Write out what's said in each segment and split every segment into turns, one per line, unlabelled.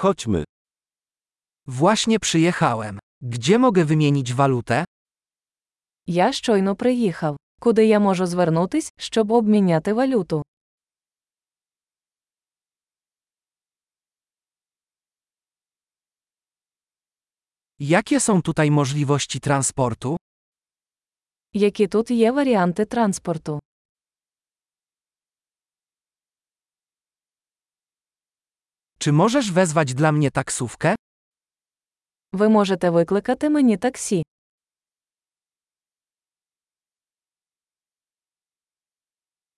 Chodźmy.
Właśnie przyjechałem. Gdzie mogę wymienić walutę?
Я щойно приїхав. Куди я можу звернутись, щоб обміняти валюту?
Jakie są tutaj możliwości transportu?
Які тут є варіанти транспорту?
Czy możesz wezwać dla mnie taksówkę?
Ви можете викликати мені таксі.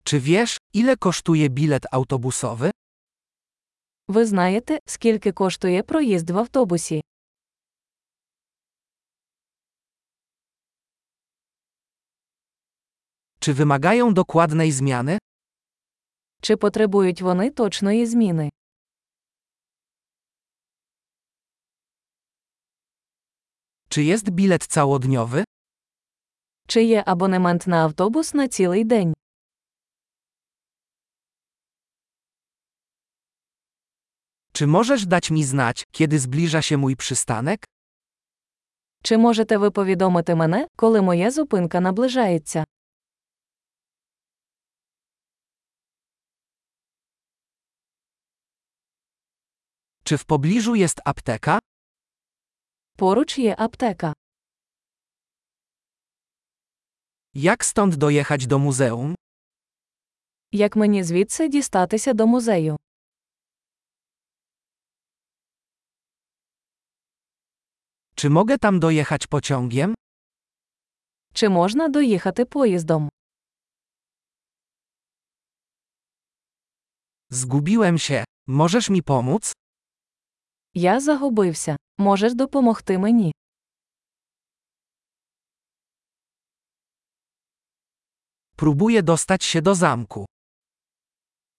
Czy wiesz, ile kosztuje bilet autobusowy?
Ви знаєте, скільки коштує проїзд в автобусі?
Czy wymagają dokładnej zmiany?
Чи потребують вони точної зміни?
Czy jest bilet całodniowy?
Чи є абонемент на автобус на цілий день?
Czy możesz dać mi znać, kiedy zbliża się mój przystanek?
Чи можете ви повідомити мене, коли моя зупинка наближається?
Czy w pobliżu jest apteka?
Поруч є аптека.
Jak stąd dojechać do muzeum?
Як мені звідси дістатися до музею?
Czy mogę tam dojechać pociągiem?
Чи можна доїхати поїздом?
Zgubiłem się. Możesz mi pomóc?
Я загубився. Можеш допомогти мені?
Próbuję dostać się do zamku.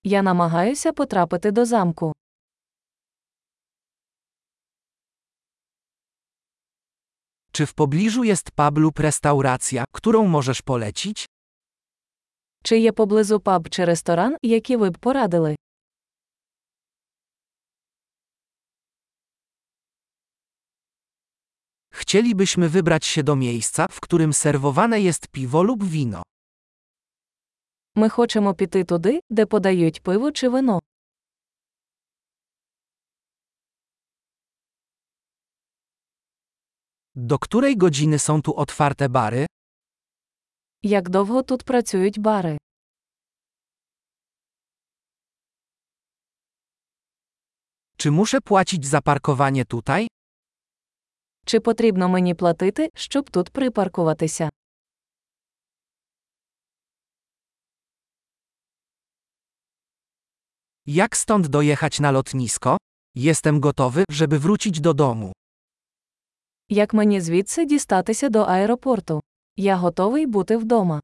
Я намагаюся потрапити до замку.
Czy w pobliżu jest pub lub restauracja, którą możesz polecić?
Чи є поблизу паб чи ресторан, які ви б порадили?
Chcielibyśmy wybrać się do miejsca, w którym serwowane jest piwo lub wino.
Ми хочемо піти туди, де подають пиво чи вино.
Do której godziny są tu otwarte bary?
Як довго тут працюють бари?
Czy muszę płacić za parkowanie tutaj?
Чи потрібно мені платити, щоб тут припаркуватися?
Jak stąd dojechać na lotnisko? Jestem gotowy, żeby wrócić do domu.
Як мені звідси дістатися до аеропорту? Я готовий бути вдома.